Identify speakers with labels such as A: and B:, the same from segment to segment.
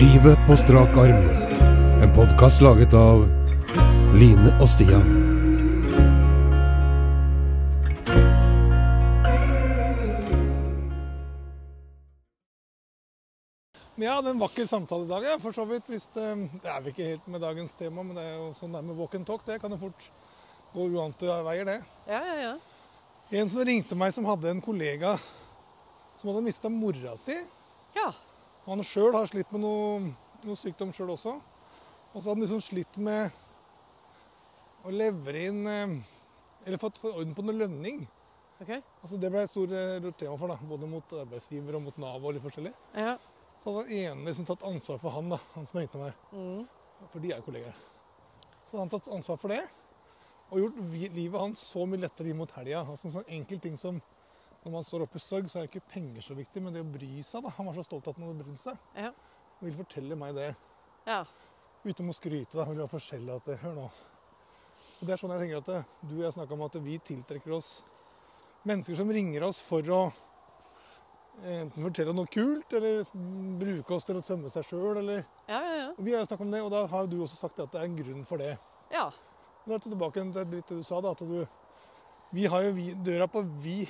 A: Livet på strak arm. En podkast laget av Line og Stian.
B: Men jeg hadde en vakker samtale i dag, jeg, for så vidt. Hvis det, det er vel ikke helt med dagens tema, men det er jo sånn det er med walk and talk. Det kan jo fort gå uante veier, det.
C: Ja, ja, ja.
B: En som ringte meg, som hadde en kollega som hadde mista mora si.
C: Ja,
B: Han sjøl har slitt med noe, noe sykdom sjøl også. Og så hadde han liksom slitt med å levere inn eh, Eller fått fått orden på noe lønning.
C: ok.
B: Altså Det ble et stort eh, tema for, da, både mot arbeidsgiver og mot Nav og litt forskjellig.
C: Ja.
B: Så hadde han ene liksom tatt ansvar for han, da, han som ringte meg.
C: Mm.
B: For de er jo kollegaer. Så hadde han tatt ansvar for det. Og gjort vi- livet hans så mye lettere inn mot helga. Altså en sånn enkel ting som når man står oppe i sorg, så er ikke penger så viktig, men det å bry seg, da. Han var så stolt av at han hadde brydd seg.
C: Ja.
B: Han ville fortelle meg det.
C: ja.
B: Uten å skryte, da. Han ville være forskjellig at det, Hør nå. Og det er sånn jeg tenker at det, du og jeg snakka om at vi tiltrekker oss mennesker som ringer oss for å eh, enten fortelle noe kult, eller bruke oss til å tømme seg sjøl, eller
C: Ja, ja, ja.
B: og Vi har jo snakket om det, og da har jo du også sagt at det er en grunn for det.
C: Ja,
B: Men Da er det tilbake igjen til litt det du sa, da, at du Vi har jo vi, døra på vi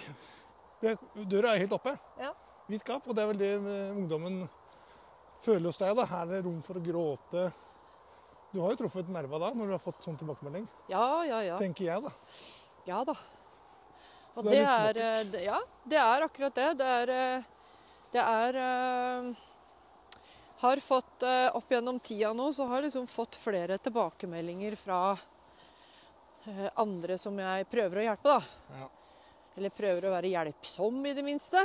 B: vi er- Døra er helt oppe.
C: Ja.
B: Vidt gap. Og det er vel det eh, ungdommen føler hos deg. da. Her er det rom for å gråte. Du har jo truffet nerva da, når du har fått sånn tilbakemelding.
C: ja, ja. Ja,
B: Tenker jeg, da.
C: ja da.
B: Så
C: Og
B: det
C: det
B: er
C: er,
B: litt
C: eh, det- ja, det er akkurat det. Det er, eh, det er eh, Har fått eh, opp gjennom tida nå, så har jeg liksom fått flere tilbakemeldinger fra eh, andre som jeg prøver å hjelpe, da.
B: Ja.
C: Eller prøver å være hjelpsom, i det minste.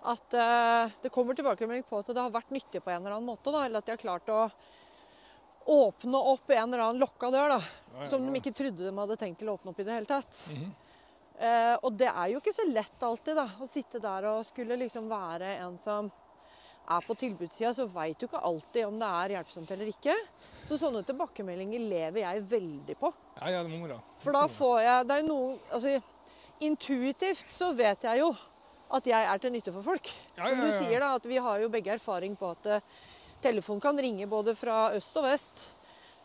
C: At eh, det kommer tilbakemelding på at det har vært nyttig på en eller annen måte. Da, eller at de har klart å åpne opp en eller annen lokka dør, da. Som de ikke trodde de hadde tenkt til å åpne opp i det hele tatt.
B: Mhm.
C: Eh, og det er jo ikke så lett alltid, da. Å sitte der og skulle liksom være en som er på tilbudssida, så veit du ikke alltid om det er hjelpsomt eller ikke. Så sånne tilbakemeldinger lever jeg veldig på.
B: Ja, ja, det må mora.
C: For da får jeg Det er jo noen Altså, intuitivt så vet jeg jo at jeg er til nytte for folk.
B: Ja,
C: Som
B: ja,
C: du
B: ja.
C: sier, da, at vi har jo begge erfaring på at eh, telefonen kan ringe både fra øst og vest.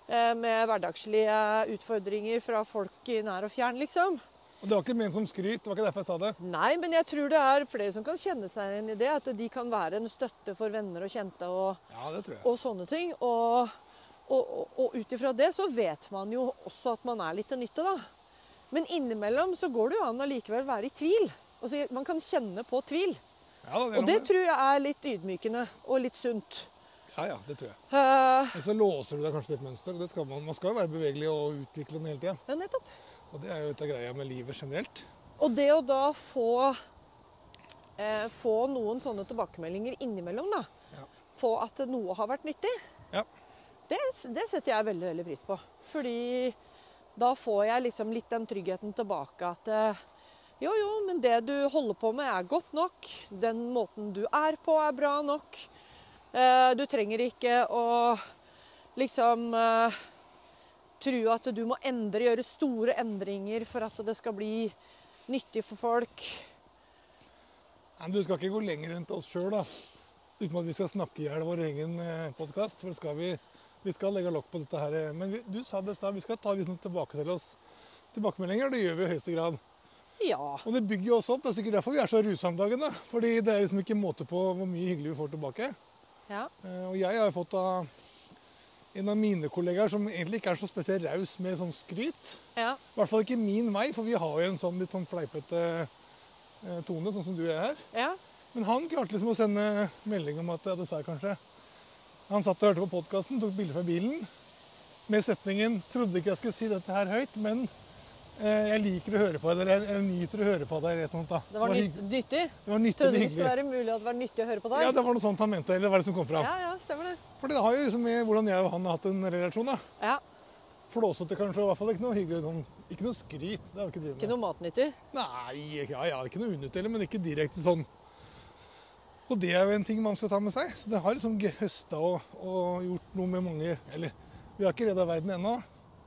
C: eh, Med hverdagslige utfordringer fra folk i nær og fjern, liksom.
B: Og det var ikke ment som skryt, det var ikke derfor jeg sa det.
C: Nei, men jeg tror det er flere som kan kjenne seg igjen i det. At de kan være en støtte for venner og kjente og,
B: Ja, det tror jeg.
C: og sånne ting. Og, og, og, og ut ifra det så vet man jo også at man er litt til nytte, da. Men innimellom så går det jo an å likevel være i tvil. Altså, man kan kjenne på tvil.
B: Ja, da,
C: Og
B: er
C: det
B: noe-
C: tror jeg er litt ydmykende og litt sunt.
B: ja, ja, det tror jeg.
C: Eh,
B: Men så låser du deg kanskje til et mønster. og Det skal man. man skal jo være bevegelig og utvikle den hele tida.
C: ja, nettopp.
B: Og det er jo litt av greia med livet generelt.
C: Og det å da få, eh, få noen sånne tilbakemeldinger innimellom, da,
B: Ja.
C: på at noe har vært nyttig,
B: Ja.
C: det, det setter jeg veldig, veldig pris på. Fordi da får jeg liksom litt den tryggheten tilbake at eh, jo, jo, men det du holder på med er godt nok. Den måten du er på er bra nok. Eh, Du trenger ikke å liksom eh, tro at du må endre, gjøre store endringer for at det skal bli nyttig for folk.
B: Nei, Men du skal ikke gå lenger enn til oss sjøl, da. Uten at vi skal snakke i hjel vår egen podkast. For skal vi, vi skal legge lokk på dette her. eh. Men vi, du sa det i stad, vi skal ta liksom tilbake til oss tilbakemeldinger. Det gjør vi i høyeste grad.
C: Ja.
B: Og det bygger jo oss opp. Det er sikkert derfor vi er så rusa om dagen. da. Fordi det er liksom ikke måte på hvor mye hyggelig vi får tilbake.
C: ja.
B: Eh, Og jeg har jo fått av en av mine kollegaer som egentlig ikke er så spesielt raus med sånn skryt.
C: Ja.
B: I hvert fall ikke min vei, for vi har jo en sånn litt sånn fleipete eh, tone, sånn som du er her.
C: Ja.
B: Men han klarte liksom å sende melding om at ja, det sa jeg kanskje. Han satt og hørte på podkasten, tok bilde fra bilen med setningen 'Trodde ikke jeg skulle si dette her høyt, men eh, jeg liker å høre på deg', eller jeg, jeg nyter å høre på deg', eller et eller annet. Da.
C: Det var
B: hygg-
C: nyt nyttig.
B: det var nyttig og
C: Trodde det skulle
B: hyggelig.
C: være mulig at det var nyttig å høre på deg.
B: Ja, det var noe sånt han mente, eller hva er det som kom fram?
C: Ja, ja, stemmer det.
B: For det har jo liksom med hvordan jeg og han har hatt en relasjon, da.
C: Ja,
B: Flåsete kanskje, og i hvert fall ikke noe hyggelig sånn Ikke noe skryt. Det har vi ikke drevet med.
C: Ikke noe matnyttig.
B: Nei, ja, ja, ikke noe unyttig, men ikke direkte sånn. Og det er jo en ting man skal ta med seg. Så det har liksom høsta og, og gjort noe med mange Eller vi har ikke redda verden ennå,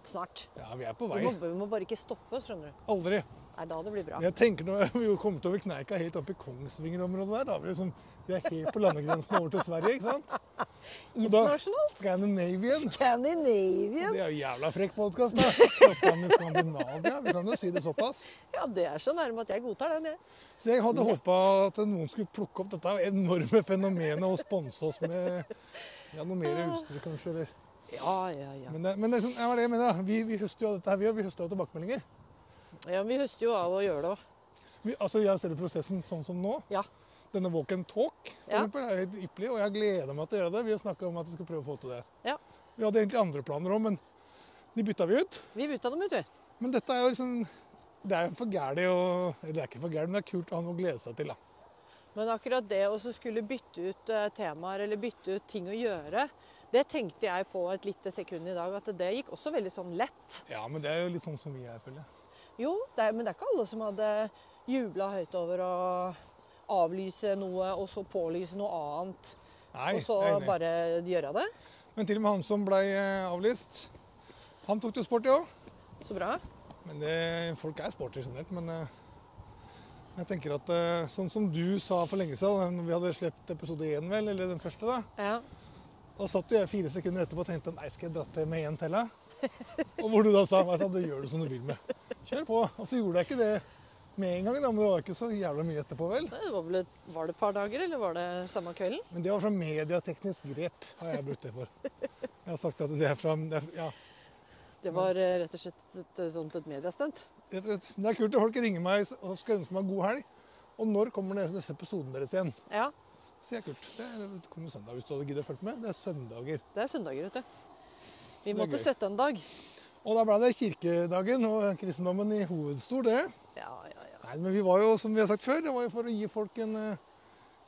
C: snart.
B: Ja, vi er på
C: Vi
B: vei.
C: må, vi må bare ikke stoppe, skjønner du.
B: Aldri.
C: Det er da det blir bra.
B: Jeg tenker når vi jo kommet over kneika helt opp i Kongsvinger-området der, da er vi liksom, vi er helt på landegrensen over til Sverige, ikke sant? Og da-
C: Internasjonalt.
B: Scandinavian.
C: Scandinavian.
B: Det er jo jævla frekk podkast, da. Snakka om Skandinavia, vi kan jo si det såpass.
C: Ja, det er så nærme at jeg godtar den, jeg.
B: Så jeg hadde håpa at noen skulle plukke opp dette enorme fenomenet og sponse oss med ja, noe mer utstyr, kanskje. Eller.
C: Ja, ja, ja.
B: Men, det- men det, er sånn- ja, det var det jeg mener, da. Vi, vi høster jo av dette her, vi, og vi høster av tilbakemeldinger.
C: ja vi høster jo av å gjøre det òg.
B: Vi, altså, Jeg ser jo prosessen sånn som nå.
C: Ja.
B: Denne walk and talk for
C: Ja.
B: eksempel, er helt ypperlig, og jeg gleder meg til å gjøre det. Vi har snakka om at vi skal prøve å få til det.
C: Ja.
B: Vi hadde egentlig andre planer òg, men de bytta vi ut.
C: Vi bytta dem ut, vi.
B: Men dette er jo liksom Det er jo for gærent å Eller det er ikke for gærent, men det er kult å ha noe å glede seg til, da.
C: Men akkurat det å så skulle bytte ut eh, temaer eller bytte ut ting å gjøre, det tenkte jeg på et lite sekund i dag, at det gikk også veldig sånn lett.
B: Ja, men det er jo litt sånn som vi er, føler jeg.
C: Jo, det er, men det er ikke alle som hadde jubla høyt over å avlyse noe, og så pålyse noe annet,
B: Nei,
C: og så
B: jeg er enig.
C: bare gjøre det.
B: Men til og med han som ble eh, avlyst, han tok det jo sport i òg.
C: Så bra.
B: Men det, folk er sporty generelt. Men eh, jeg tenker at eh, sånn som du sa for lenge siden, når vi hadde sluppet episode én, vel, eller den første, da
C: Ja.
B: da satt jo jeg fire sekunder etterpå og tenkte nei, skal jeg dra til med én til? da? Og hvor du da sa at det gjør du som du vil med. Kjør på. Og så gjorde jeg ikke det med en gang, da, men det var ikke så jævla mye etterpå, vel.
C: Det var, vel et, var det et par dager, eller var det samme kvelden?
B: Men det var fra mediateknisk grep, har jeg brukt det for. Jeg har sagt at det er fra det er, Ja,
C: Det var eh, rett og slett et, et, sånt et mediestunt.
B: rett og slett. Men det er kult at folk ringer meg og skal ønske meg god helg. Og når kommer disse disse episoden deres igjen?
C: Ja,
B: Så det er kult. Det er- det kommer søndag hvis du hadde giddet å følge med. Det er søndager.
C: det er søndager, vet du.
B: Så det
C: Vi
B: er
C: måtte
B: gøy.
C: sette en dag.
B: Og da ble det kirkedagen og kristendommen i hovedstol, det.
C: Ja, ja, ja.
B: Nei, men vi var jo, som vi har sagt før, det var jo for å gi folk en eh,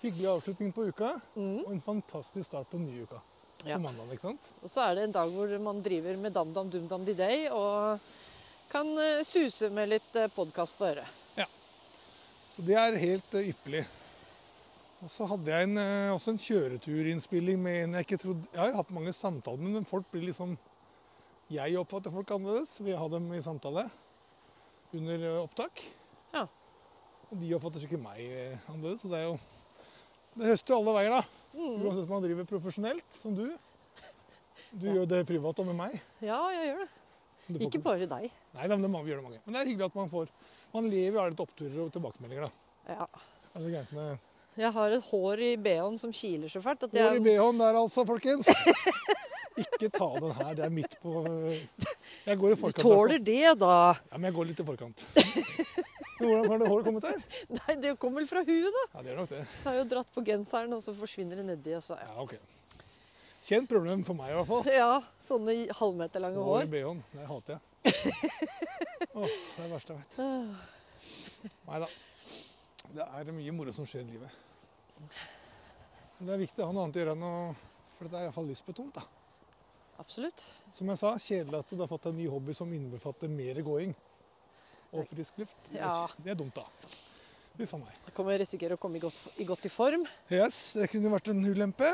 B: hyggelig avslutning på uka. Og en fantastisk start på den nye uka. På
C: Ja.
B: mandag, ikke sant?
C: Og så er det en dag hvor man driver med dam-dam, dum-dam, di-day, og kan eh, suse med litt podkast på øret.
B: Så det er helt eh, ypperlig. Og så hadde jeg en, eh, også en kjøreturinnspilling med en jeg ikke trodde Jeg har jo hatt mange samtaler, men folk blir liksom Jeg oppfatter folk annerledes ved å ha dem i samtale under eh, opptak.
C: Ja.
B: Og de oppfatter sikkert meg eh, annerledes, så det er jo Det høster jo alle veier, da. Uansett om man driver profesjonelt, som du. Du gjør det privat og med meg.
C: Ja, jeg gjør det.
B: Du får
C: Ikke bare deg.
B: Nei, da, men det må vi gjøre det mange. Men det er hyggelig at man får Man lever jo av litt oppturer og tilbakemeldinger, da.
C: Ja.
B: Det er det gærent med
C: Jeg har et hår i behåen som kiler så fælt at
B: Hår i
C: jeg
B: BH-en der altså, folkens. Ikke ta den her. Det er midt på Jeg går i
C: Du
B: forkant.
C: tåler det, da.
B: derfor. Ja, men jeg går litt i forkant. Men hvordan har det håret kommet der?
C: Nei, det kommer vel fra huet, da.
B: Ja, det gjør nok det.
C: Jeg har jo dratt på genseren, og så forsvinner det nedi. Og så, ja.
B: Ja, ok. Kjent problem for meg i hvert fall.
C: ja, sånne halvmeterlange
B: Hår i
C: hår.
B: BH-en. Det hater jeg. Åh, det er det verste jeg vet.
C: Eh,
B: Nei da. Det er mye moro som skjer i livet. Men det er viktig å ha noe annet å gjøre enn å For dette er iallfall lystbetont, da.
C: Absolutt.
B: Som jeg sa, kjedelig at du har fått en ny hobby som innbefatter mer gåing og frisk luft.
C: Ja.
B: Det er dumt, da. Huff a meg.
C: Da kan vi risikere å komme i godt, i godt i form.
B: Yes, det kunne vært en ulempe.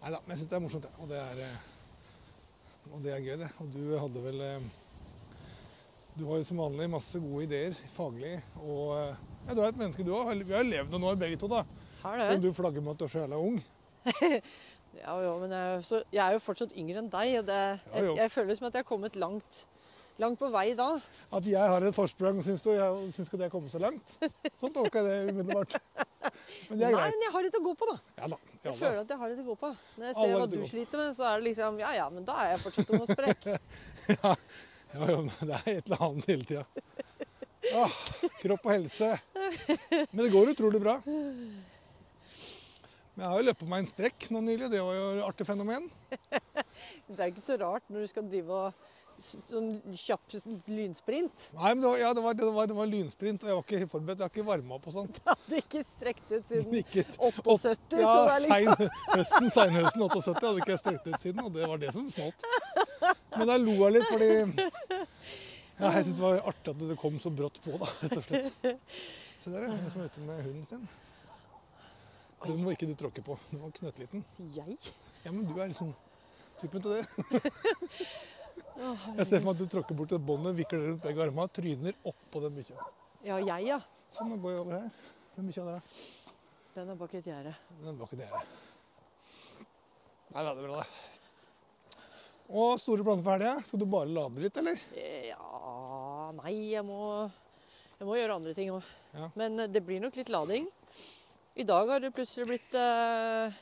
B: Nei da, men jeg syns det er morsomt, jeg. Og det er, eh, og det er gøy, det. Og du hadde vel eh, Du har jo som vanlig masse gode ideer faglig, og eh, ja, du er et menneske, du òg. Vi har jo levd noen år begge to, da.
C: Her
B: Selv om
C: er det.
B: du flagger med at du er så jævla ung.
C: Ja, jo, men jeg, er jo så, jeg er jo fortsatt yngre enn deg, og det,
B: Ja, jo.
C: jeg, jeg føler som at jeg har kommet langt, langt på vei da.
B: At jeg har et forsprang, syns du? Jeg syns ikke det har kommet så langt. Sånn tolka jeg det umiddelbart. Men det er
C: Nei,
B: greit.
C: men jeg har litt å gå på, da.
B: Ja da.
C: Jeg
B: Ja,
C: føler
B: da.
C: at jeg har litt å gå på. Når jeg
B: Alle
C: ser
B: har
C: hva
B: litt å
C: du
B: gå på.
C: sliter med, så er det liksom Ja ja, men da er jeg fortsatt ung og sprekk.
B: Ja, ja, men det er et eller annet hele tida. Ah, kropp og helse. Men det går utrolig bra. Men jeg har jo løpt på meg en strekk nå nylig. Det var jo et artig fenomen.
C: Det er ikke så rart når du skal drive og s- sånn kjapp lynsprint.
B: Nei, men det var, ja, det var, det var, det var lynsprint, og jeg var ikke forberedt. Jeg har ikke varma opp og sånt.
C: Jeg hadde ikke strekt ut siden
B: Ikke,
C: 78,
B: ja,
C: så det er liksom
B: sein, høsten, seinhøsten 78 hadde ikke jeg strekt ut siden, og det var det som smalt. Men jeg lo jeg litt, fordi ja, jeg syntes det var artig at det kom så brått på, da, rett og slett. Se der, ja. En som er ute med hunden sin. Den må ikke du tråkke på. Den var knøttliten.
C: Jeg?
B: Ja, men du er liksom typen til det. Jeg ser for meg at du tråkker bort et båndet, vikler det rundt begge armene, tryner oppå den bikkja.
C: Ja, jeg, ja.
B: Sånn, nå går jeg over her. Den bikkja der, da.
C: Den er bak et gjerde.
B: Den var ikke dere. Nei, det er bra, det. Og store planer for helga. Skal du bare lade litt, eller?
C: Ja Nei, jeg må, jeg må gjøre andre ting òg.
B: Ja.
C: Men eh, det blir nok litt lading. I dag har det plutselig blitt eh,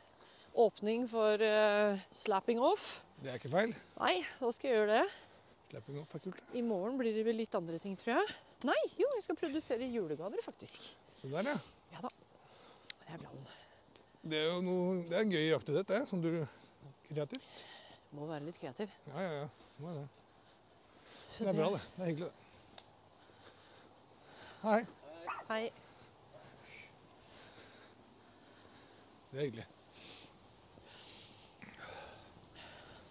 C: åpning for eh, slapping off.
B: Det er ikke feil.
C: Nei, da skal jeg gjøre det.
B: Slapping off er kult. det.
C: I morgen blir det vel litt andre ting, tror jeg. Nei, jo, jeg skal produsere julegaver, faktisk.
B: Se der, ja.
C: Ja da. Det er planen.
B: Det er jo noe, det er en gøy aktivitet, det. Som du Kreativt.
C: Må være litt kreativ.
B: Ja, ja, ja. Må jo det.
C: Så
B: Det er bra, det. Det er hyggelig, det. Hei.
C: Hei.
B: Det er hyggelig.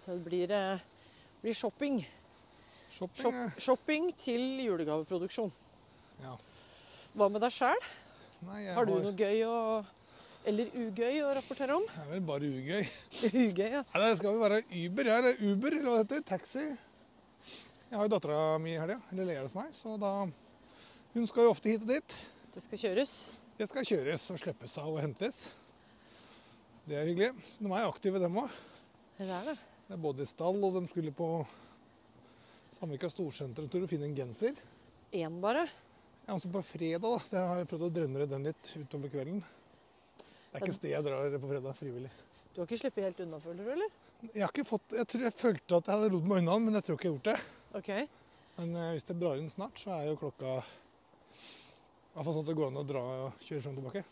C: Så det blir, eh, blir shopping.
B: Shopping,
C: Shop, shopping til julegaveproduksjon.
B: ja. ja.
C: Hva med deg sjæl?
B: Nei, jeg
C: Har du noe gøy å eller ugøy å rapportere om?
B: Det er vel bare ugøy.
C: Ugøy, ja.
B: Nei, det skal vel være Uber her. eller Uber, eller hva det heter. Taxi. Jeg har jo dattera mi i helga, eller leier hos meg, så da Hun skal jo ofte hit og dit.
C: Det skal kjøres.
B: Det skal kjøres og slippes av og hentes. Det er hyggelig. Så De er aktive, dem òg.
C: Det er det.
B: Det er både i stall, og de skulle på Samvika storsenter en tur og finne en genser.
C: Én bare.
B: Ja, altså på fredag, da, så jeg har prøvd å drønnere den litt utover kvelden. Det er ikke sted jeg drar på fredag frivillig.
C: Du har ikke sluppet helt unna, føler du, eller?
B: Jeg har ikke fått, jeg, tror, jeg følte at jeg hadde rodd meg unna, den, men jeg tror ikke jeg har gjort det.
C: OK.
B: Men eh, hvis det drar inn snart, så er jo klokka I hvert fall sånn at det går an å dra og kjøre frem og tilbake.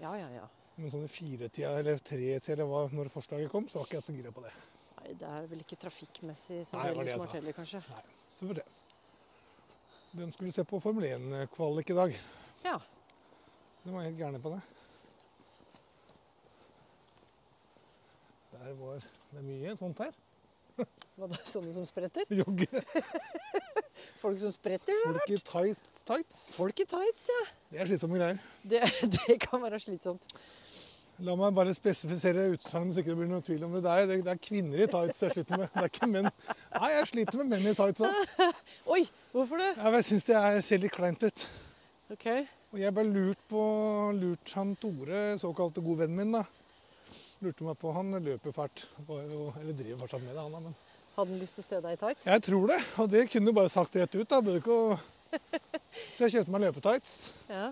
C: Ja, ja, ja.
B: Men sånn i firetida eller tretida eller hva, når forslaget kom, så var ikke jeg så gira på det.
C: Nei, det er vel ikke trafikkmessig så
B: Nei, det var
C: veldig
B: det jeg
C: smart
B: sa.
C: heller, kanskje.
B: Så får vi se. De skulle se på Formel 1-kvalik i dag.
C: Ja.
B: De var helt gærne på det. Der var Det er mye sånt her.
C: Var det sånne som spretter?
B: Jogge.
C: Folk som spretter?
B: Folk i tights. tights.
C: Folk i tights, ja.
B: Det er slitsomme greier.
C: Det, det kan være slitsomt.
B: La meg bare spesifisere utsagnet, så ikke det blir noen tvil om det. Det er, det er kvinner i tights jeg sliter med. Det er ikke menn. Nei, jeg sliter med menn i tights òg.
C: Oi, hvorfor det?
B: Jeg syns det er, ser litt kleint ut.
C: OK.
B: Og jeg ble lurt på lurt han Tore, såkalte godvennen min, da. Lurte meg på Han løper fælt. Var jo- Eller driver fortsatt med det, han da. Men
C: Hadde den lyst til å se deg i tights?
B: jeg tror det. Og det kunne du bare sagt rett ut, da. Bør ikke å... Så jeg kjøpte meg løpetights
C: Ja.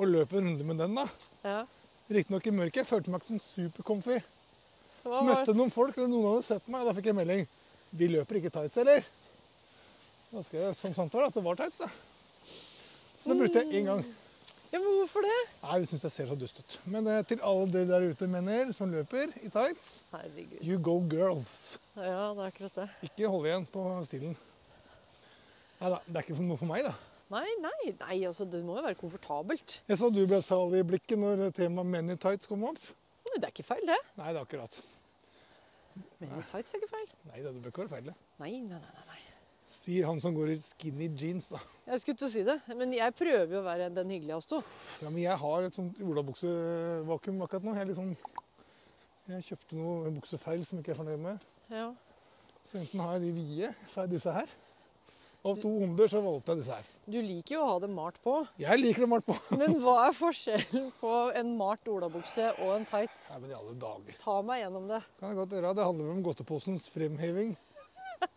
B: og løp en runde med den, da.
C: ja.
B: Riktignok i mørket. Jeg følte meg ikke sånn som supercomfy.
C: Hva var
B: Møtte noen folk, eller noen hadde sett meg, og da fikk jeg melding. Vi løper ikke tights, eller? Da skrev jeg som sant var at det var tights, da. Så det brukte jeg én gang.
C: Ja, men hvorfor det?
B: Nei, det syns jeg ser så dust ut. Men eh, til alle dere der ute mener som løper i tights,
C: Herregud.
B: you go girls.
C: Ja, det er akkurat det.
B: Ikke hold igjen på stilen. Nei da, det er ikke for noe for meg, da.
C: Nei, nei, nei, altså det må jo være komfortabelt.
B: Jeg så du ble salig i blikket når temaet menn i tights kom opp.
C: Nei, Det er ikke feil, det.
B: Nei, det er akkurat.
C: Men i tights er ikke feil.
B: Nei, det bør ikke være feil, det.
C: Nei, nei, nei, nei, nei.
B: Sier han som går i skinny jeans, da.
C: Jeg skulle til å si det, men jeg prøver jo å være den hyggelige av oss to.
B: Ja, men jeg har et sånt olabuksevakuum akkurat nå. Jeg, er litt sånn- jeg kjøpte noe en buksefeil som jeg ikke er fornøyd med.
C: Ja.
B: Så enten har jeg de vide, så har jeg disse her. Av to onder så valgte jeg disse her.
C: Du liker jo å ha det malt på,
B: Jeg liker dem alt på.
C: men hva er forskjellen på en malt olabukse og en tights?
B: Nei, men i alle dager.
C: Ta meg gjennom det.
B: Kan jeg godt gjøre. Det handler om godteposens fremheving.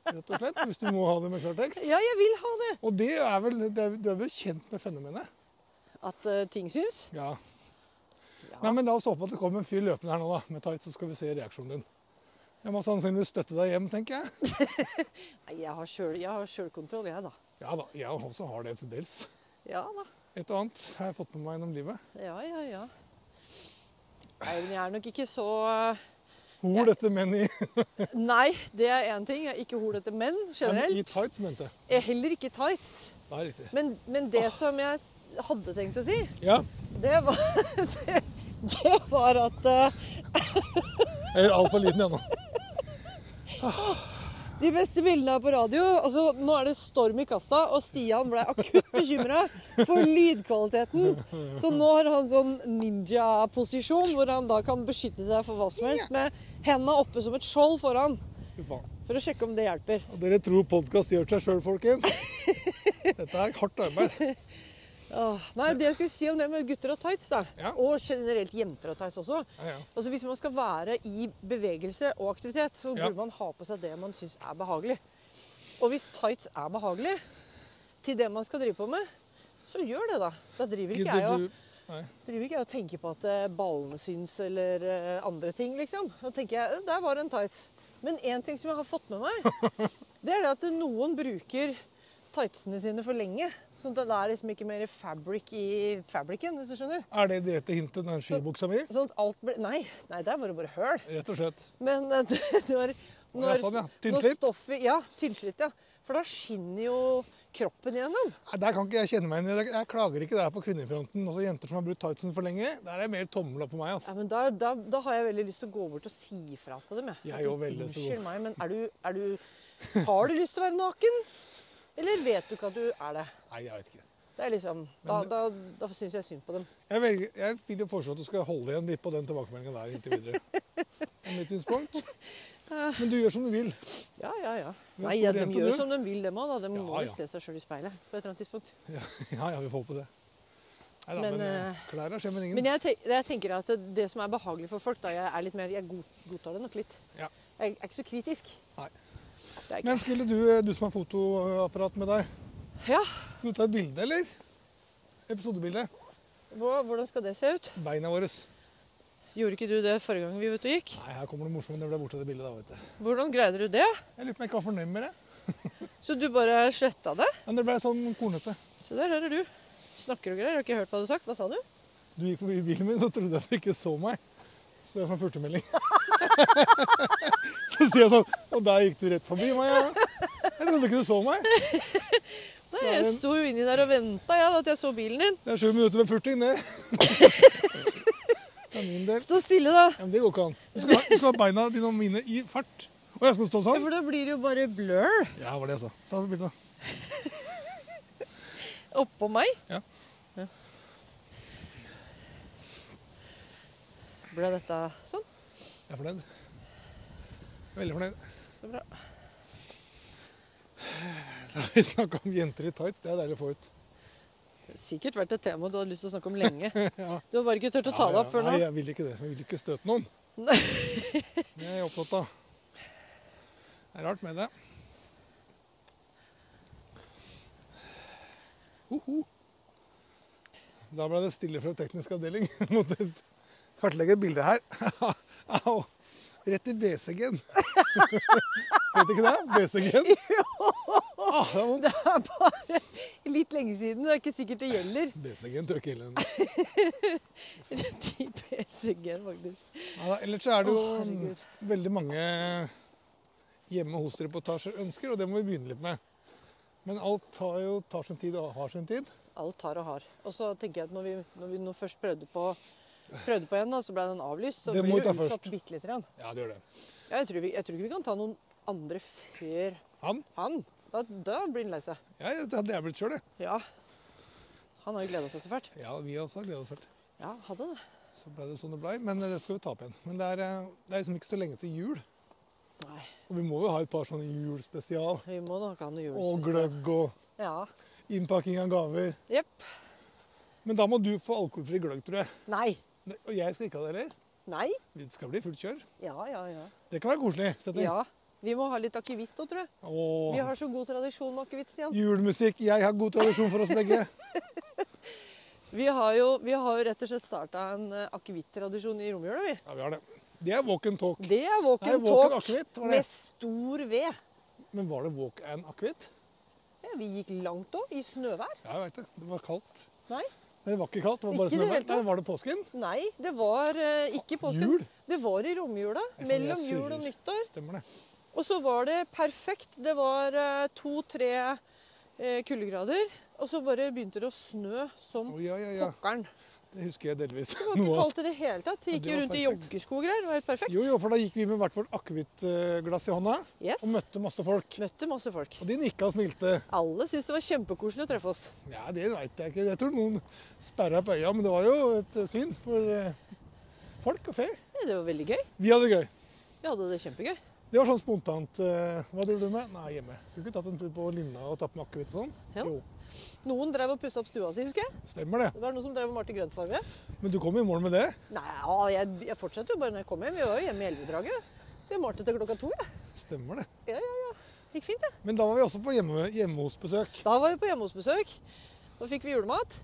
B: Rett og slett, hvis du må ha det med klartekst.
C: Ja, jeg vil ha det!
B: Og det er vel, det er, du er vel kjent med fenomenet?
C: At eh, ting syns?
B: Ja.
C: Ja.
B: Nei, men La oss håpe at det kommer en fyr løpende her nå da, med tights, så skal vi se reaksjonen din. Jeg må sannsynligvis støtte deg hjem, tenker jeg.
C: Nei, jeg har sjøl- jeg har sjølkontroll, jeg, da.
B: Ja da, jeg også har det til dels.
C: Ja da.
B: Et og annet har jeg fått med meg gjennom livet.
C: Ja, ja, ja. Nei, men jeg er nok ikke så eh,
B: Hor dette menn i,
C: Nei, det er én ting. Jeg er ikke hol etter menn
B: i
C: generelt.
B: tights, mente jeg.
C: Jeg er heller ikke tights.
B: Det er riktig.
C: Men, men
B: Ah.
C: det som jeg hadde tenkt å si,
B: Ja,
C: det var, det, det var at eh,
B: jeg gjør altfor liten ennå.
C: De beste bildene er på radio. Altså, nå er det storm i kassa, og Stian ble akutt bekymra for lydkvaliteten. Så nå har han sånn ninja-posisjon, hvor han da kan beskytte seg for hva som helst med henda oppe som et skjold foran.
B: Fy faen.
C: For å sjekke om det hjelper.
B: Og dere tror podkast gjør seg sjøl, folkens? Dette er hardt arbeid.
C: Åh, nei, det jeg skulle si om det med gutter og tights, da.
B: Ja.
C: Og generelt jenter og tights også.
B: Ja, ja.
C: Altså Hvis man skal være i bevegelse og aktivitet, så
B: Ja.
C: burde man ha på seg det man syns er behagelig. Og hvis tights er behagelig til det man skal drive på med, så gjør det, da. Da driver ikke jeg
B: Gidder
C: og,
B: du Nei.
C: driver ikke jeg og tenker på at eh, ballene syns eller eh, andre ting, liksom. Da tenker jeg eh, der var det en tights. Men én ting som jeg har fått med meg, det er det at noen bruker tightsene sine for lenge. Sånn at det er liksom ikke mer fabric i fabricen, hvis du skjønner.
B: Er det direkte hintet til den skibuksa mi?
C: Sånn at alt blir Nei, nei, der var det bare høl.
B: Rett og slett.
C: Men eh, det- når, når,
B: sånn, ja.
C: når
B: Tynnslitt?
C: stoffet Ja, tynnslitt. Ja. For da skinner jo kroppen gjennom.
B: Nei, Der kan ikke jeg kjenne meg igjen. Jeg- Jeg klager ikke der på kvinnefronten. Også jenter som har brukt tightsen for lenge. Der er det mer tommel opp på meg.
C: Ja,
B: altså.
C: men da, da, da har jeg veldig lyst til å gå bort og si ifra til dem.
B: Jeg
C: At,
B: jo veldig lyst til å gå
C: Unnskyld meg, men er du, er du, har du lyst til å være naken? Eller vet du ikke at du er det?
B: Nei, jeg vet ikke.
C: Det er liksom, Da, da, da syns jeg synd på dem.
B: Jeg, velger, jeg vil jo foreslå at du skal holde igjen litt på den tilbakemeldinga der inntil videre. Om mitt synspunkt. Men du gjør som du vil.
C: Ja, ja, ja.
B: Men
C: Nei,
B: stor
C: ja, De
B: jente,
C: gjør
B: du.
C: som de vil, dem òg. De
B: Ja,
C: må
B: ja.
C: jo se seg sjøl i speilet på et eller annet tidspunkt.
B: Ja, ja, ja vi får på det. Nei da,
C: Men,
B: men, eh,
C: eh,
B: klær er skjemmen ingen.
C: Men jeg, te- jeg tenker at det som er behagelig for folk, da jeg er litt mer Jeg god, godtar det nok litt.
B: Ja.
C: Jeg er ikke så kritisk.
B: Nei.
C: Det er ikke.
B: Men skulle du, du som har fotoapparat med deg,
C: ja,
B: skulle du ta et bilde, eller? Episodebilde.
C: hvor- hvordan skal det se ut?
B: Beina våre.
C: Gjorde ikke du det forrige gang vi var ute og gikk?
B: Nei, her kommer det morsomme. Det ble borte det bildet da, vet du.
C: Hvordan greide du det?
B: Jeg lurer på om jeg ikke var fornøyd med det.
C: Så du bare sletta det?
B: Men det ble sånn kornete.
C: Se der, her er du. Snakker og greier. Jeg har ikke hørt hva du har sagt. Hva sa du?
B: Du gikk forbi bilen min og trodde jeg at du ikke så meg. Så jeg får furtemelding. så sier jeg sånn Og der gikk du rett forbi meg, ja. Jeg trodde ikke du så meg.
C: Nei,
B: Så er
C: jeg
B: det en-
C: sto jo inni der og venta ja, at jeg så bilen din.
B: Det er sju minutter med furting, det. Det er min del.
C: Stå stille, da.
B: Ja, men det går ikke an. Du skal, ha- du skal ha beina dine og mine i fart. Og jeg skal stå
C: Ja,
B: sånn.
C: For da blir det jo bare blur
B: Ja, det var det jeg sa. Så hadde bildet.
C: oppå meg.
B: Ja.
C: Ja. Ble dette sånn?
B: Jeg er fornøyd. Veldig fornøyd.
C: Så bra.
B: Da har vi snakka om jenter i tights. Det er deilig å få ut.
C: Det har sikkert vært et tema du hadde lyst til å snakke om lenge. Du har bare ikke turt å
B: Ja,
C: ta det
B: ja.
C: opp før nå.
B: Nei, jeg vil ikke det. Jeg vil ikke støte noen.
C: Nei.
B: Det er jeg opptatt av. Det er rart med det. Hoho. Da ble det stille fra teknisk avdeling. Jeg Måtte kartlegge et bilde her. Au. Rett i BCG-en. Vet du ikke det? BCG-en. Ah, det var vondt.
C: Det er bare litt lenge siden. Det er ikke sikkert det gjelder.
B: BCG-en tør ikke hele den.
C: Rett i BCG-en, faktisk.
B: Ja, da, ellers så er det
C: Å,
B: jo
C: herregud.
B: veldig mange hjemme hos-reportasjer ønsker, og det må vi begynne litt med. Men alt tar jo tar sin tid og har sin tid.
C: Alt har og har. Og så tenker jeg at når vi, når vi nå først prøvde på, prøvde på en, da, så ble den avlyst. Så
B: Det må
C: blir
B: vi ta
C: det utsatt
B: først.
C: bitte lite grann.
B: Ja, det gjør det.
C: Ja, jeg, tror vi- jeg tror ikke vi kan ta noen andre før
B: Han?
C: han. Da, da blir han lei seg.
B: Ja, det hadde jeg blitt sjøl, jeg.
C: Ja. Han har jo gleda seg så fælt.
B: Ja, vi også har gledet oss fælt.
C: Ja, hadde det.
B: Så ble det sånn det blei. Men det skal vi ta opp igjen. Men det er, eh, det er liksom ikke så lenge til jul.
C: Nei,
B: Og vi må jo ha et par sånne julspesial.
C: vi må nok ha noe
B: Og
C: julespesial.
B: gløgg og
C: Ja.
B: innpakking av gaver.
C: Jepp.
B: Men da må du få alkoholfri gløgg, tror jeg.
C: Nei.
B: Ne- Og jeg skal ikke ha det heller.
C: Nei.
B: Det skal bli fullt kjør.
C: Ja, ja, ja.
B: Det kan være koselig. setting.
C: Ja, Vi må ha litt akevitt nå, tror jeg.
B: Åh.
C: Vi har så god tradisjon med akevitt, Stian.
B: Julemusikk. Jeg har god tradisjon for oss begge.
C: Vi har jo, vi har jo rett og slett starta en eh, akevitt-tradisjon i romjula, vi.
B: Ja, vi har det. Det er walk and talk.
C: Det er
B: Nei,
C: walk
B: walk
C: and
B: and
C: talk
B: akevitt var det.
C: med stor ved.
B: Men var det walk and akevitt?
C: Ja, vi gikk langt òg, i snøvær.
B: Ja, jeg veit det. Det var kaldt.
C: Nei,
B: Nei, det var ikke kaldt. Det var bare
C: Ikke i det
B: snøvær.
C: hele tatt.
B: Nei, Var det påsken?
C: nei, det var eh, ikke i påsken.
B: Jul?
C: Det var i romjula.
B: Nei, for jeg
C: Mellom
B: surrer.
C: jul og nyttår.
B: Stemmer det.
C: Og så var det perfekt. Det var eh, to-tre eh, kuldegrader. Og så bare begynte det å snø som
B: Å, ja, ja, ja.
C: pokkeren.
B: Det husker jeg delvis.
C: Det var
B: noe
C: ikke
B: av.
C: kaldt i det hele tatt. Det
B: Ja,
C: Gikk
B: det
C: jo
B: var
C: rundt i
B: perfekt.
C: joggesko og greier. Det var helt perfekt.
B: Jo, jo, for da gikk vi med hvert vårt akevittglass i hånda
C: Yes.
B: og møtte masse folk.
C: Møtte masse folk.
B: Og de nikka og smilte.
C: Alle syntes det var kjempekoselig å treffe oss.
B: Ja, det veit jeg ikke. Jeg tror noen sperra på øya, men det var jo et eh, syn for eh, folk og fe.
C: Ja, Det var veldig gøy.
B: Vi hadde det gøy.
C: Vi hadde det kjempegøy.
B: Det var sånn spontant. eh, Hva driver du med? Nei, hjemme. Skulle ikke tatt en tur på Linna og tatt med akevitt og sånn?
C: Ja.
B: Jo,
C: Noen drev og pussa opp stua si, husker jeg.
B: stemmer det.
C: Det var noen som drev og malte grønnfarge.
B: Men du kom i mål med det?
C: Nei, ja, jeg, jeg fortsetter jo bare når jeg kommer hjem. Vi var jo hjemme i Elvedraget. Så jeg malte til klokka to, jeg.
B: Stemmer det.
C: Ja, ja, ja. Gikk fint, det.
B: Men da var vi også på hjemme, hjemme hos besøk.
C: Da var vi på hjemmehosbesøk. Da fikk vi julemat.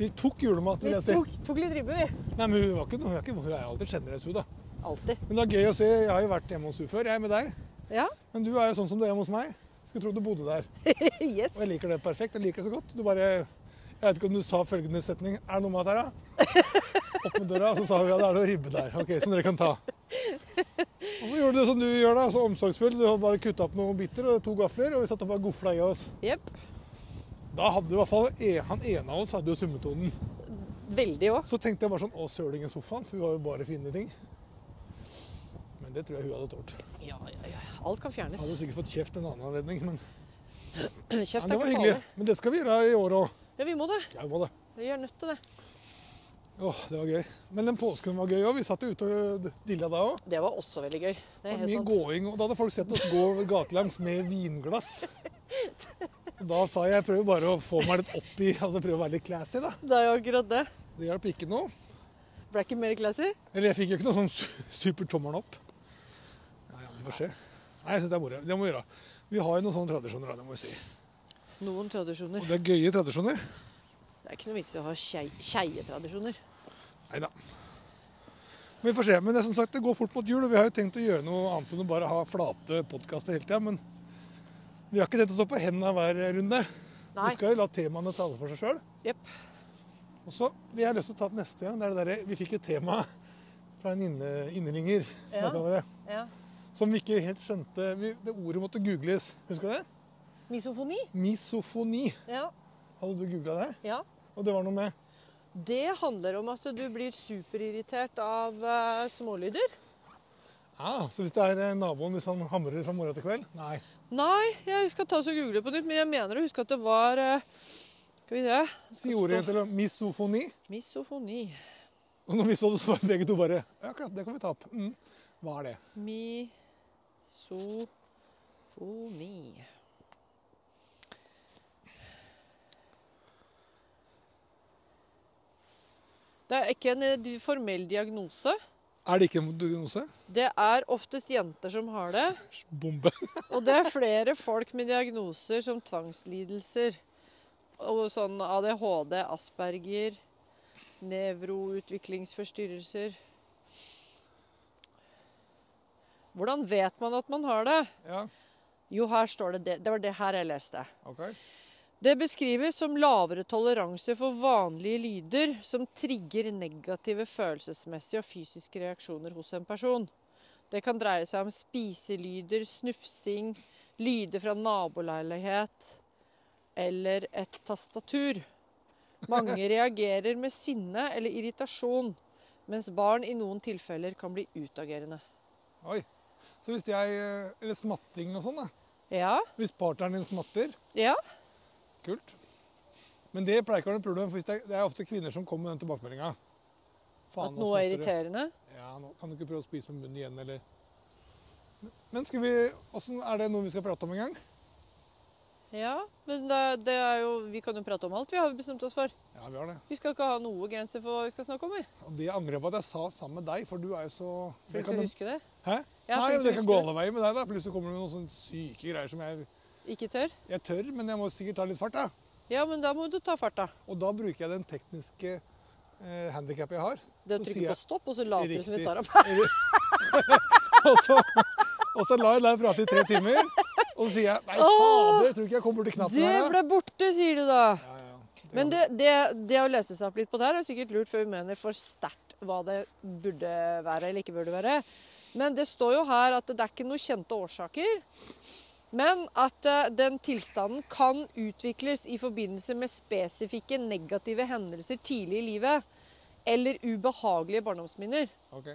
B: Vi tok julemat,
C: Vi
B: vil jeg si.
C: tok, tok litt ribbe, vi.
B: Nei, men hun, var ikke, noe- hun, er ikke, hun er alltid sjenerøs, hun, da.
C: Alltid.
B: Men det er gøy å se. Jeg har jo vært hjemme hos hun før, jeg med deg.
C: Ja.
B: Men du er jo sånn som du er hjemme hos meg. Skulle tro du bodde der.
C: Yes.
B: Og jeg liker det perfekt. Jeg liker det så godt. Du bare Jeg vet ikke om du sa følgende setning. Er det noe mat her, da? Opp med døra, og så sa hun ja, det er noe ribbe der. Ok, Som dere kan ta. Og så gjorde du det som du gjør, da. Så omsorgsfull. Du har bare kutta opp noen biter og to gafler, og vi satt og bare gofla i oss.
C: Jepp.
B: Da hadde i hvert fall e- han ene av oss hadde jo summetonen.
C: Veldig òg.
B: Så tenkte jeg bare sånn Å, søling i sofaen, for hun har jo bare fine ting. Men det tror jeg hun hadde tålt.
C: Ja, ja, ja. Alt kan
B: Hun
C: fjernes.
B: Hadde sikkert fått kjeft en annen anledning, men ja,
C: Kjeft
B: det
C: er
B: var
C: ikke
B: hyggelig.
C: farlig.
B: Men det skal vi gjøre i år òg.
C: Ja, vi må det.
B: Ja, hva da?
C: Vi er nødt til det.
B: Åh, det var gøy. Men den påsken var gøy òg. Vi satt jo ute og dilla da òg.
C: Det var også veldig gøy. Det er
B: Mye
C: helt sant.
B: gåing. Og da hadde folk sett oss gå over gatelangs med vinglass. Og Da sa jeg jeg prøver bare å få meg litt opp i Altså prøve å være litt classy, da.
C: Det er jo akkurat det.
B: Det hjalp ikke noe.
C: Ble ikke mer classy?
B: Eller jeg fikk jo ikke noe sånn su- super tommelen opp. Ja, ja, vi får se. Nei, jeg syns det er moro. Det må vi gjøre. Vi har jo noen sånne tradisjoner, da, det må vi si.
C: Noen tradisjoner.
B: Og det er gøye tradisjoner.
C: Det er ikke noe vits i å ha skei- skeietradisjoner.
B: Nei da. Men vi får se. Men det, er som sagt, det går fort mot jul, og vi har jo tenkt å gjøre noe annet enn å bare ha flate podkaster hele tida. Men vi har ikke tenkt å stå på hendene hver runde.
C: Nei.
B: Vi skal jo la temaene tale for seg sjøl.
C: Jepp.
B: Og så vil jeg ha lyst til å ta det neste gang. Det er det derre Vi fikk et tema fra en inne, innringer. Som,
C: Ja.
B: jeg kaller det,
C: Ja.
B: som vi ikke helt skjønte vi, Det ordet måtte googles. Husker du det?
C: Misofoni?
B: Misofoni.
C: Ja.
B: Hadde du googla det?
C: ja.
B: Og det var noe med
C: Det handler om at du blir superirritert av eh, smålyder.
B: ah, Så hvis det er eh, naboen hvis han hamrer fra morgen til kveld Nei.
C: Nei, jeg skal ta så google på nytt, men jeg mener å huske at det var eh, Skal vi se
B: Si ordet til misofoni.
C: Misofoni.
B: Og når vi så det, så var begge to bare Ja, klart, det kan vi ta opp. Mm. Hva er det?
C: Misofoni. Det er ikke en eh, di- formell diagnose.
B: Er det ikke en diagnose?
C: Det er oftest jenter som har det.
B: Bombe.
C: Og det er flere folk med diagnoser som tvangslidelser. Og sånn ADHD, Asperger, nevroutviklingsforstyrrelser. Hvordan vet man at man har det?
B: Ja,
C: Jo, her står det det. Det var det her jeg leste.
B: ok.
C: Det beskrives som lavere toleranse for vanlige lyder som trigger negative følelsesmessige og fysiske reaksjoner hos en person. Det kan dreie seg om spiselyder, snufsing, lyder fra naboleilighet eller et tastatur. Mange reagerer med sinne eller irritasjon, mens barn i noen tilfeller kan bli utagerende.
B: Oi. Så hvis jeg eh, Eller smatting og sånn, da.
C: Ja,
B: Hvis partneren din smatter,
C: ja,
B: kult. Men det pleier ikke å være noe problem, for hvis det, er, det er ofte kvinner som kommer med den tilbakemeldinga.
C: at noe er irriterende.
B: Ja, nå kan du ikke prøve å spise med munnen igjen, eller Men skal vi Åssen er det noe vi skal prate om en gang?
C: Ja, men det, det er jo, vi kan jo prate om alt vi har bestemt oss for.
B: Ja, vi har det.
C: Vi skal ikke ha noe grenser for hva vi skal snakke om. vi.
B: Og det angrer jeg på at jeg sa sammen med deg, for du er jo så Det
C: Flink
B: kan
C: til å
B: du-
C: huske det.
B: Hæ?
C: Ja,
B: Nei, men
C: flink
B: det
C: til å
B: kan
C: huske
B: gå
C: det.
B: alle veier med deg, da. Plutselig kommer det med noen sånne syke greier som jeg
C: Ikke tør?
B: Jeg tør, men jeg må sikkert ta litt fart, da.
C: Ja, men da må du ta fart, da.
B: Og da bruker jeg den tekniske eh, handikappet jeg har. Så
C: Det å
B: sier
C: trykke
B: jeg-
C: på stopp, og så later du som vi
B: Riktig.
C: tar opp.
B: og, så, og så lar jeg deg prate i tre timer, og så sier jeg Nei,
C: Åh!
B: fader, jeg tror ikke jeg kom borti knappen
C: Det
B: her, da.
C: ble borte, sier du da.
B: Ja, ja, ja.
C: Men det, det, det å lese seg opp litt på det her er sikkert lurt, for vi mener for sterkt hva det burde være eller ikke burde være. Men det står jo her at det er ikke noen kjente årsaker. Men at eh, den tilstanden kan utvikles i forbindelse med spesifikke negative hendelser tidlig i livet. Eller ubehagelige barndomsminner.
B: Ok.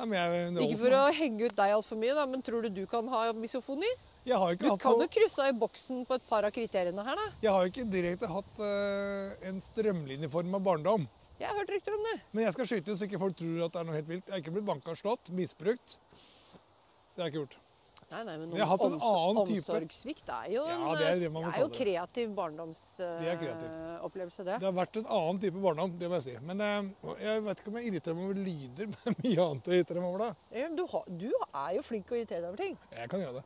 B: Nei, men jeg, det sånn.
C: Ikke
B: holder
C: for
B: meg.
C: å henge ut deg altfor mye, da, men tror du du kan ha misofoni?
B: jeg har jo
C: Du
B: ikke hatt
C: kan jo
B: noe,
C: krysse av i boksen på et par av kriteriene her, da.
B: jeg har jo ikke direkte hatt eh, en strømlinjeform av barndom.
C: Jeg har hørt rykter om det.
B: Men jeg skal skyte så ikke folk tror at det er noe helt vilt. Jeg er ikke blitt banka og slått, misbrukt. Det er kult.
C: Nei, nei, men
B: Jeg har hatt en annen type.
C: omsorgssvikt er jo en,
B: Ja, det er det man må
C: er jo
B: kalle det.
C: kreativ
B: Det er kreativ.
C: barndomsopplevelse, det.
B: Det har vært en annen type barndom, det må jeg si. Men eh, jeg vet ikke om jeg irriterer meg over lyder, men mye annet jeg irriterer meg over da.
C: Ja, men Du, har, du er jo flink til å irritere deg over ting.
B: Jeg kan gjøre det.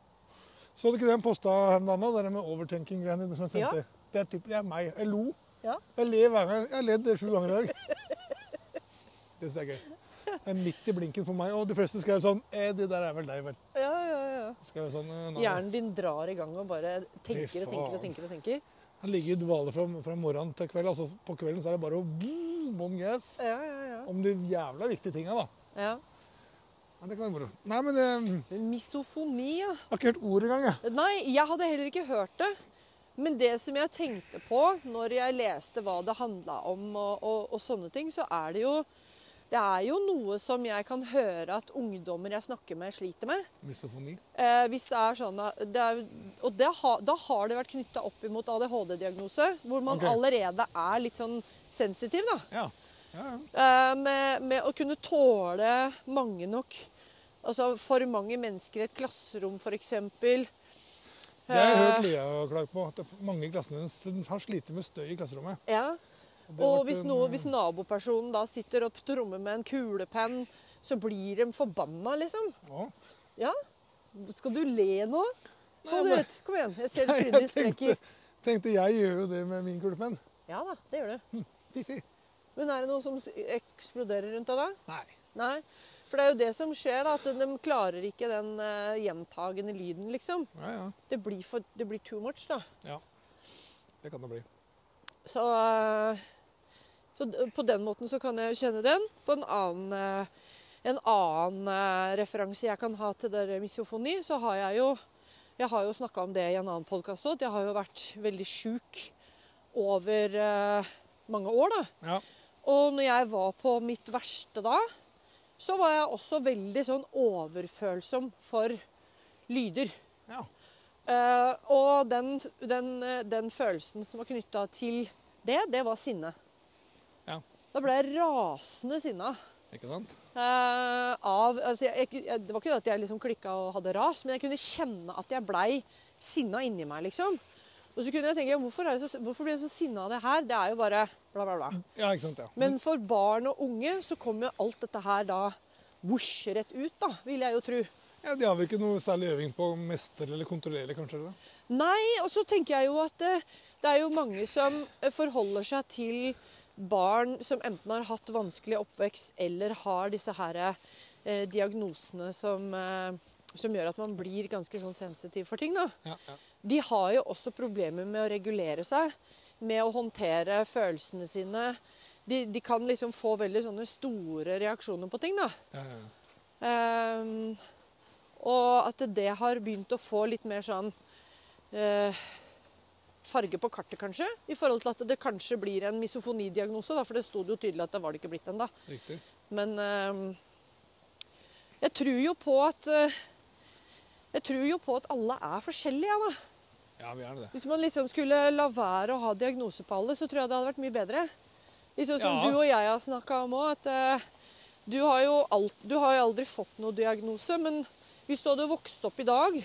B: Så du ikke den posta her om dagen, da? det der med overtenking-greiene som jeg sendte? Det, er typ, det er meg. Jeg lo.
C: Ja.
B: Jeg ler hver gang. Jeg har ledd sju ganger i dag. Det synes jeg er gøy. Det er midt i blinken for meg. Og de fleste skrev sånn eh, Det der er vel deg, vel.
C: Ja, ja, ja.
B: Skrev sånn, eh, nei.
C: Hjernen din drar i gang og bare tenker og tenker og
B: faen.
C: tenker. og tenker.
B: Han ligger i dvale fra, fra morgenen til kveld. Altså, på kvelden så er det bare å boom, bon gas.
C: Ja, ja, ja.
B: Om de jævla viktige tinga, da.
C: ja.
B: Men det kan være moro. Nei, men eh,
C: Men Misofoni, ja.
B: jeg har ikke hørt ordet engang, jeg.
C: Nei, jeg hadde heller ikke hørt det. Men det som jeg tenkte på når jeg leste hva det handla om og, og, og sånne ting, så er det jo Det er jo noe som jeg kan høre at ungdommer jeg snakker med, sliter med.
B: Misofoni.
C: Eh, hvis det er sånn at det er, Og det ha, da har det vært knytta opp imot ADHD-diagnose, hvor man
B: Ok.
C: allerede er litt sånn sensitiv, da.
B: Ja. ja, ja.
C: Eh, med, med å kunne tåle mange nok Altså for mange mennesker i et klasserom, Eh, f.eks.
B: Det har jeg hørt Lea klage på. At det er mange i klassen hennes har slitt med støy i klasserommet.
C: Ja.
B: Det
C: Og
B: ble
C: hvis,
B: en,
C: noe,
B: eh,
C: hvis nabopersonen da sitter og trommer med en kulepenn, så blir de forbanna, liksom.
B: ja.
C: Ja. Skal du le nå?
B: Nei,
C: Få det
B: men-
C: ut. Kom igjen. Jeg ser du
B: Jeg
C: trynet ditt
B: tenkte,
C: sprekker.
B: tenkte jeg gjør jo det med min kulepenn.
C: Ja da, det gjør du.
B: Fiffi.
C: Men er det noe som s- eksploderer rundt deg da?
B: Nei.
C: Nei. For det er jo det som skjer, da, at de klarer ikke den eh, gjentagende lyden, liksom.
B: Ja, ja.
C: Det blir, for, det blir too much, da.
B: ja. Det kan det bli.
C: Så, eh, så d- på den måten så kan jeg jo kjenne den. På en annen, eh, en annen eh, referanse jeg kan ha til det der misofoni, så har jeg jo jeg har jo snakka om det i en annen podkast òg. Jeg har jo vært veldig sjuk over eh, mange år, da.
B: Ja.
C: Og når jeg var på mitt verste da, så var jeg også veldig sånn overfølsom for lyder.
B: ja.
C: Eh, og den, den, eh, den følelsen som var knytta til det, det var sinne.
B: Ja.
C: Da ble jeg rasende sinna.
B: Ikke sant?
C: eh, av, altså jeg, jeg, jeg, det var ikke det at jeg liksom klikka og hadde ras, men jeg kunne kjenne at jeg blei sinna inni meg, liksom. Og så kunne jeg tenke hvorfor, er jeg så, hvorfor blir jeg så sinna av det her? Det er jo bare bla, bla, bla.
B: Ja, ikke sant, ja.
C: Men for barn og unge så kommer jo alt dette her da vosj rett ut, da, vil jeg jo tro.
B: ja de har vel ikke noe særlig øving på å mestre eller kontrollere, kanskje? eller?
C: Nei, og så tenker jeg jo at det, det er jo mange som eh, forholder seg til barn som enten har hatt vanskelig oppvekst eller har disse her eh, diagnosene som, eh, som gjør at man blir ganske sånn sensitiv for ting, da.
B: Ja, ja.
C: De har jo også problemer med å regulere seg, med å håndtere følelsene sine. De, de kan liksom få veldig sånne store reaksjoner på ting, da.
B: Ja, ja, ja.
C: Ehm, og at det har begynt å få litt mer sånn eh, farge på kartet, kanskje. I forhold til at det kanskje blir en misofonidiagnose, da, for det sto det jo tydelig at det var det ikke blitt ennå.
B: Riktig.
C: Men ehm, jeg tror jo på at eh, Jeg tror jo på at alle er forskjellige, jeg, da.
B: Ja, vi er det.
C: Hvis man liksom skulle la være å ha diagnose på alle, så tror jeg det hadde vært mye bedre. Liksom som
B: Ja.
C: du og jeg har snakka om òg, at eh, du, har jo alt, du har jo aldri fått noe diagnose, men hvis du hadde vokst opp i dag,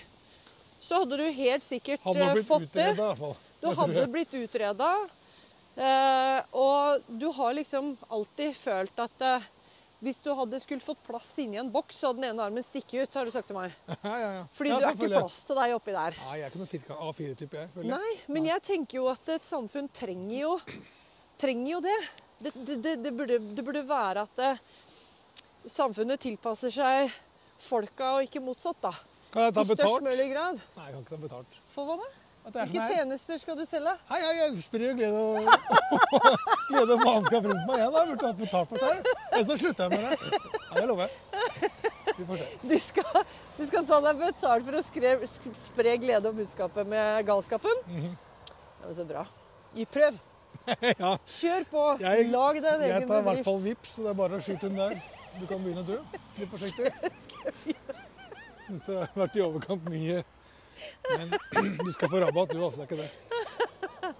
C: så hadde du helt sikkert
B: Han har
C: eh,
B: blitt
C: fått
B: utredet, i
C: det.
B: hvert fall.
C: Du
B: Det tror
C: hadde
B: jeg.
C: blitt utreda. og du har liksom alltid følt at eh, hvis du hadde skulle fått plass inni en boks, så hadde den ene armen stikket ut, har du sagt til meg.
B: Ja, ja, ja.
C: Fordi
B: ja,
C: du er ikke
B: selvfølgelig.
C: plass til deg oppi der.
B: Nei, jeg er ikke noen firkant A4-type, jeg. føler jeg.
C: Nei, men jeg tenker jo at et samfunn trenger jo, trenger jo det. Det, det, det, det, burde, det burde være at eh, samfunnet tilpasser seg folka, og ikke motsatt, da.
B: Kan jeg ta
C: I størst
B: betalt?
C: mulig grad.
B: Nei, jeg kan ikke ta betalt.
C: For hva da?
B: At det er
C: Hvilke
B: sånn her.
C: tjenester skal du selge?
B: Hei, hei, jeg sprer jo glede og glede og faenskap rundt meg. Jeg da burde hatt betalt for dette. her. Ellers så slutter jeg med det. Ja, det lover jeg. Vi får se.
C: Du skal, du skal ta deg betalt for å skre, sk- spre glede og budskapet med galskapen? Ja, men Så bra. Gi prøv.
B: Mhm. Ja.
C: Kjør på.
B: Jeg-
C: Lag deg en
B: Jeg tar i
C: egen
B: hvert
C: bedrift.
B: fall vips, så det er bare å skyte den der. Du kan begynne, du. Litt forsiktig. Syns det har vært i overkant mye. Men du skal få rabatt, du altså. Det er ikke det.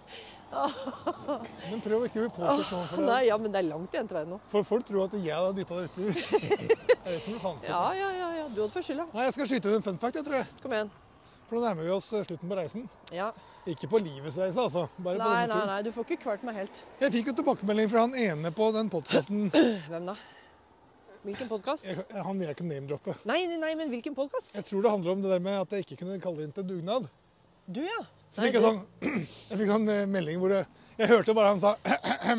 B: Men prøv å ikke bli påkjørt nå. For, det.
C: Nei, ja, men det er langt igjen til veien nå.
B: for folk tror at jeg hadde dytta det uti. Det er det som blir faenskapet.
C: Ja, ja, ja, ja. Du hadde først skylda.
B: Nei, jeg skal skyte inn en fun fact, jeg tror jeg.
C: Kom igjen.
B: For nå nærmer vi oss eh, slutten på reisen.
C: Ja.
B: Ikke på livets reise, altså. Bare på
C: Nei,
B: denne
C: nei,
B: turen.
C: nei, du får ikke kvalt meg helt.
B: Jeg fikk jo tilbakemelding fra han ene på den podkasten.
C: Hvem da? Hvilken podkast?
B: Han vil jeg ikke name-droppe.
C: Nei, nei, nei, men hvilken podkast?
B: Jeg tror det handler om det der med at jeg ikke kunne kalle det inn til dugnad.
C: Du, ja.
B: Så
C: Nei,
B: fikk jeg
C: du-
B: sånn, jeg fikk sånn eh, melding hvor det, jeg hørte bare han sa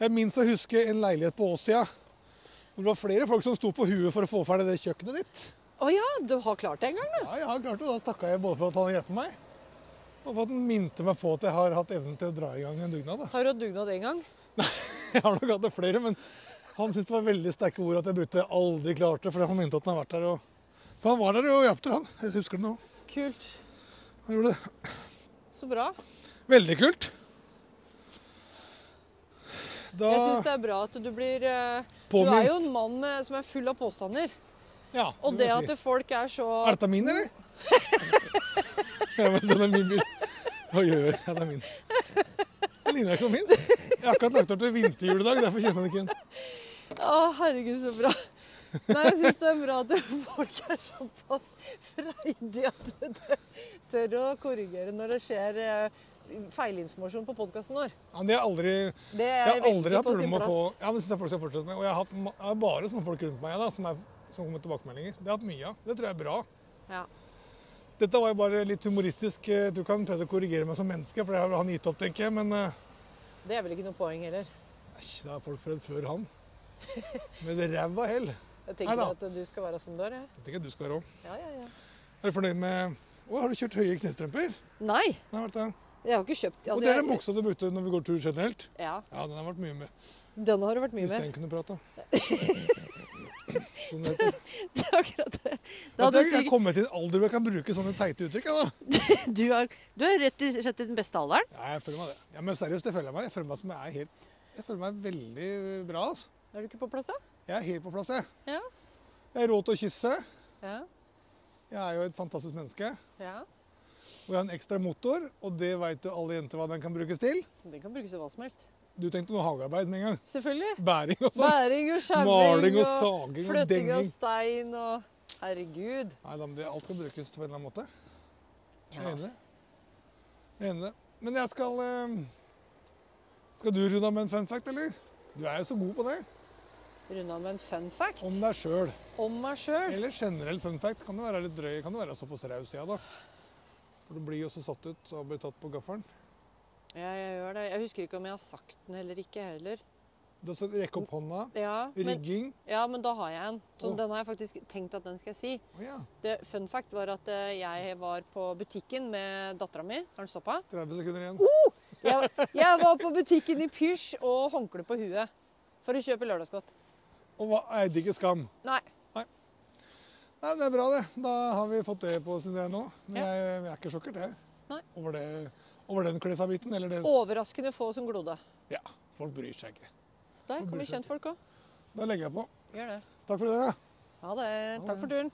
B: Jeg minnes å huske en leilighet på Åsia hvor det var flere folk som sto på huet for å få ferdig det kjøkkenet ditt.
C: Å ja, du har klart det en gang, du.
B: Ja, jeg har klart det, og Da takka jeg både for at han hjelper meg, og for at han minte meg på at jeg har hatt evnen til å dra i gang en dugnad. Da.
C: Har du hatt dugnad en gang?
B: Jeg har nok hatt det flere, men han syntes det var veldig sterke ord at jeg brukte 'aldri klarte', fordi han mente at han har vært der og For han var der og hjalp til, han. Jeg husker det nå.
C: Kult.
B: Han gjorde det.
C: Så bra.
B: Veldig kult. Da
C: Jeg syns det er bra at du blir eh, Du er jo en mann med, som er full av påstander.
B: Ja,
C: Og
B: vil
C: det
B: jeg
C: at
B: si.
C: folk er så
B: Er dette min, eller? ja, men sånn er min bil. Hva gjør jeg? Ja, det er min. Den ligner ikke på min. Jeg har akkurat lagt opp til vinterjuledag, derfor kjenner jeg den ikke igjen.
C: Å, herregud, så bra. Nei, jeg syns det er bra at folk er såpass freidige at de tør å korrigere når det skjer eh, feilinformasjon på podkasten vår.
B: Ja, men det har jeg aldri,
C: Det
B: jeg
C: er
B: har aldri
C: veldig
B: hatt
C: på
B: problemer
C: sin
B: med å få
C: plass.
B: Ja, det syns jeg folk skal fortsette med. Og jeg har, hatt, ma- jeg har bare sånne folk rundt meg da, som, er, som kommer med tilbakemeldinger. Det har jeg hatt mye av. Det tror jeg er bra.
C: Ja.
B: Dette var jo bare litt humoristisk. eh, Du kan prøve å korrigere meg som menneske, for det har han gitt opp, tenker jeg. Men eh,
C: Det er vel ikke noe poeng heller.
B: æsj, det har folk prøvd før han. Med ræva hell.
C: Jeg
B: Nei
C: tenker
B: da.
C: at du skal være som du er. jeg.
B: Det tenker jeg du skal være òg.
C: Ja, ja, ja.
B: Er du fornøyd med Å, har du kjørt høye knestrømper?
C: Nei,
B: Nei, vet du.
C: jeg har ikke kjøpt
B: og
C: altså,
B: det er
C: jeg-
B: den buksa du brukte når vi går tur generelt.
C: Ja,
B: Ja, den har vært mye med.
C: den har det vært mye
B: Hvis
C: med.
B: den kunne prata. Sånn det heter.
C: Det er akkurat det.
B: At
C: Da hadde
B: jeg
C: du,
B: jeg er kommet til en alder hvor jeg kan bruke sånne teite uttrykk. Ja, da.
C: sikkert- du, er, du er rett og slett i den beste alderen.
B: Ja, jeg føler meg det. Ja, Men seriøst, det føler jeg meg. Jeg føler meg som jeg er helt Jeg føler meg veldig bra. Altså.
C: Er du ikke på plass, da?
B: Jeg er helt på plass, jeg.
C: Ja.
B: Jeg er råd til å kysse.
C: Ja.
B: Jeg er jo et fantastisk menneske.
C: ja.
B: Og jeg har en ekstra motor, og det veit jo alle jenter hva den kan brukes til.
C: Den kan brukes til hva som helst.
B: Du tenkte noe hagearbeid med en gang.
C: Selvfølgelig.
B: Bæring og sånn.
C: Bæring og skjæring
B: Maling og
C: og,
B: saging og
C: flytting av
B: denging.
C: stein og Herregud.
B: Nei, da, men det, alt kan brukes på en eller annen måte. Jeg er
C: Ja.
B: enig i det. Jeg er enig i det. Men jeg skal eh, Skal du runde av med en fun fact, eller? Du er jo så god på det.
C: Runda med en fun fact
B: Om deg sjøl.
C: om meg sjøl.
B: Eller generell fun fact. Kan jo være litt drøy. Kan jo være såpass raus, ja da. For du blir jo så satt ut av å bli tatt på gaffelen.
C: Ja, jeg gjør det. Jeg husker ikke om jeg har sagt den eller ikke heller.
B: Du har sagt rekke opp hånda.
C: Ja, men,
B: Rigging.
C: ja, men da har jeg en. Så
B: Å.
C: den har jeg faktisk tenkt at den skal jeg si.
B: Å ja.
C: Det, fun fact var at eh, jeg var på butikken med dattera mi. Har den stoppa?
B: 30 sekunder igjen.
C: Oh! Jeg, jeg var på butikken i pysj og håndkle på huet for å kjøpe lørdagsgodt.
B: Og hva eide ikke skam.
C: Nei.
B: Nei, men Det er bra, det. Da har vi fått det på sin del nå. Men
C: Ja.
B: jeg, jeg er ikke sjokkert, jeg.
C: Nei.
B: Over, det- over den kleshabiten. Eller det
C: Overraskende få som glodde.
B: Ja. Folk bryr seg ikke.
C: Så der kommer kjentfolk òg.
B: Da legger jeg på.
C: Gjør det.
B: Takk for i dag. ja.
C: Ha det. Takk for turen.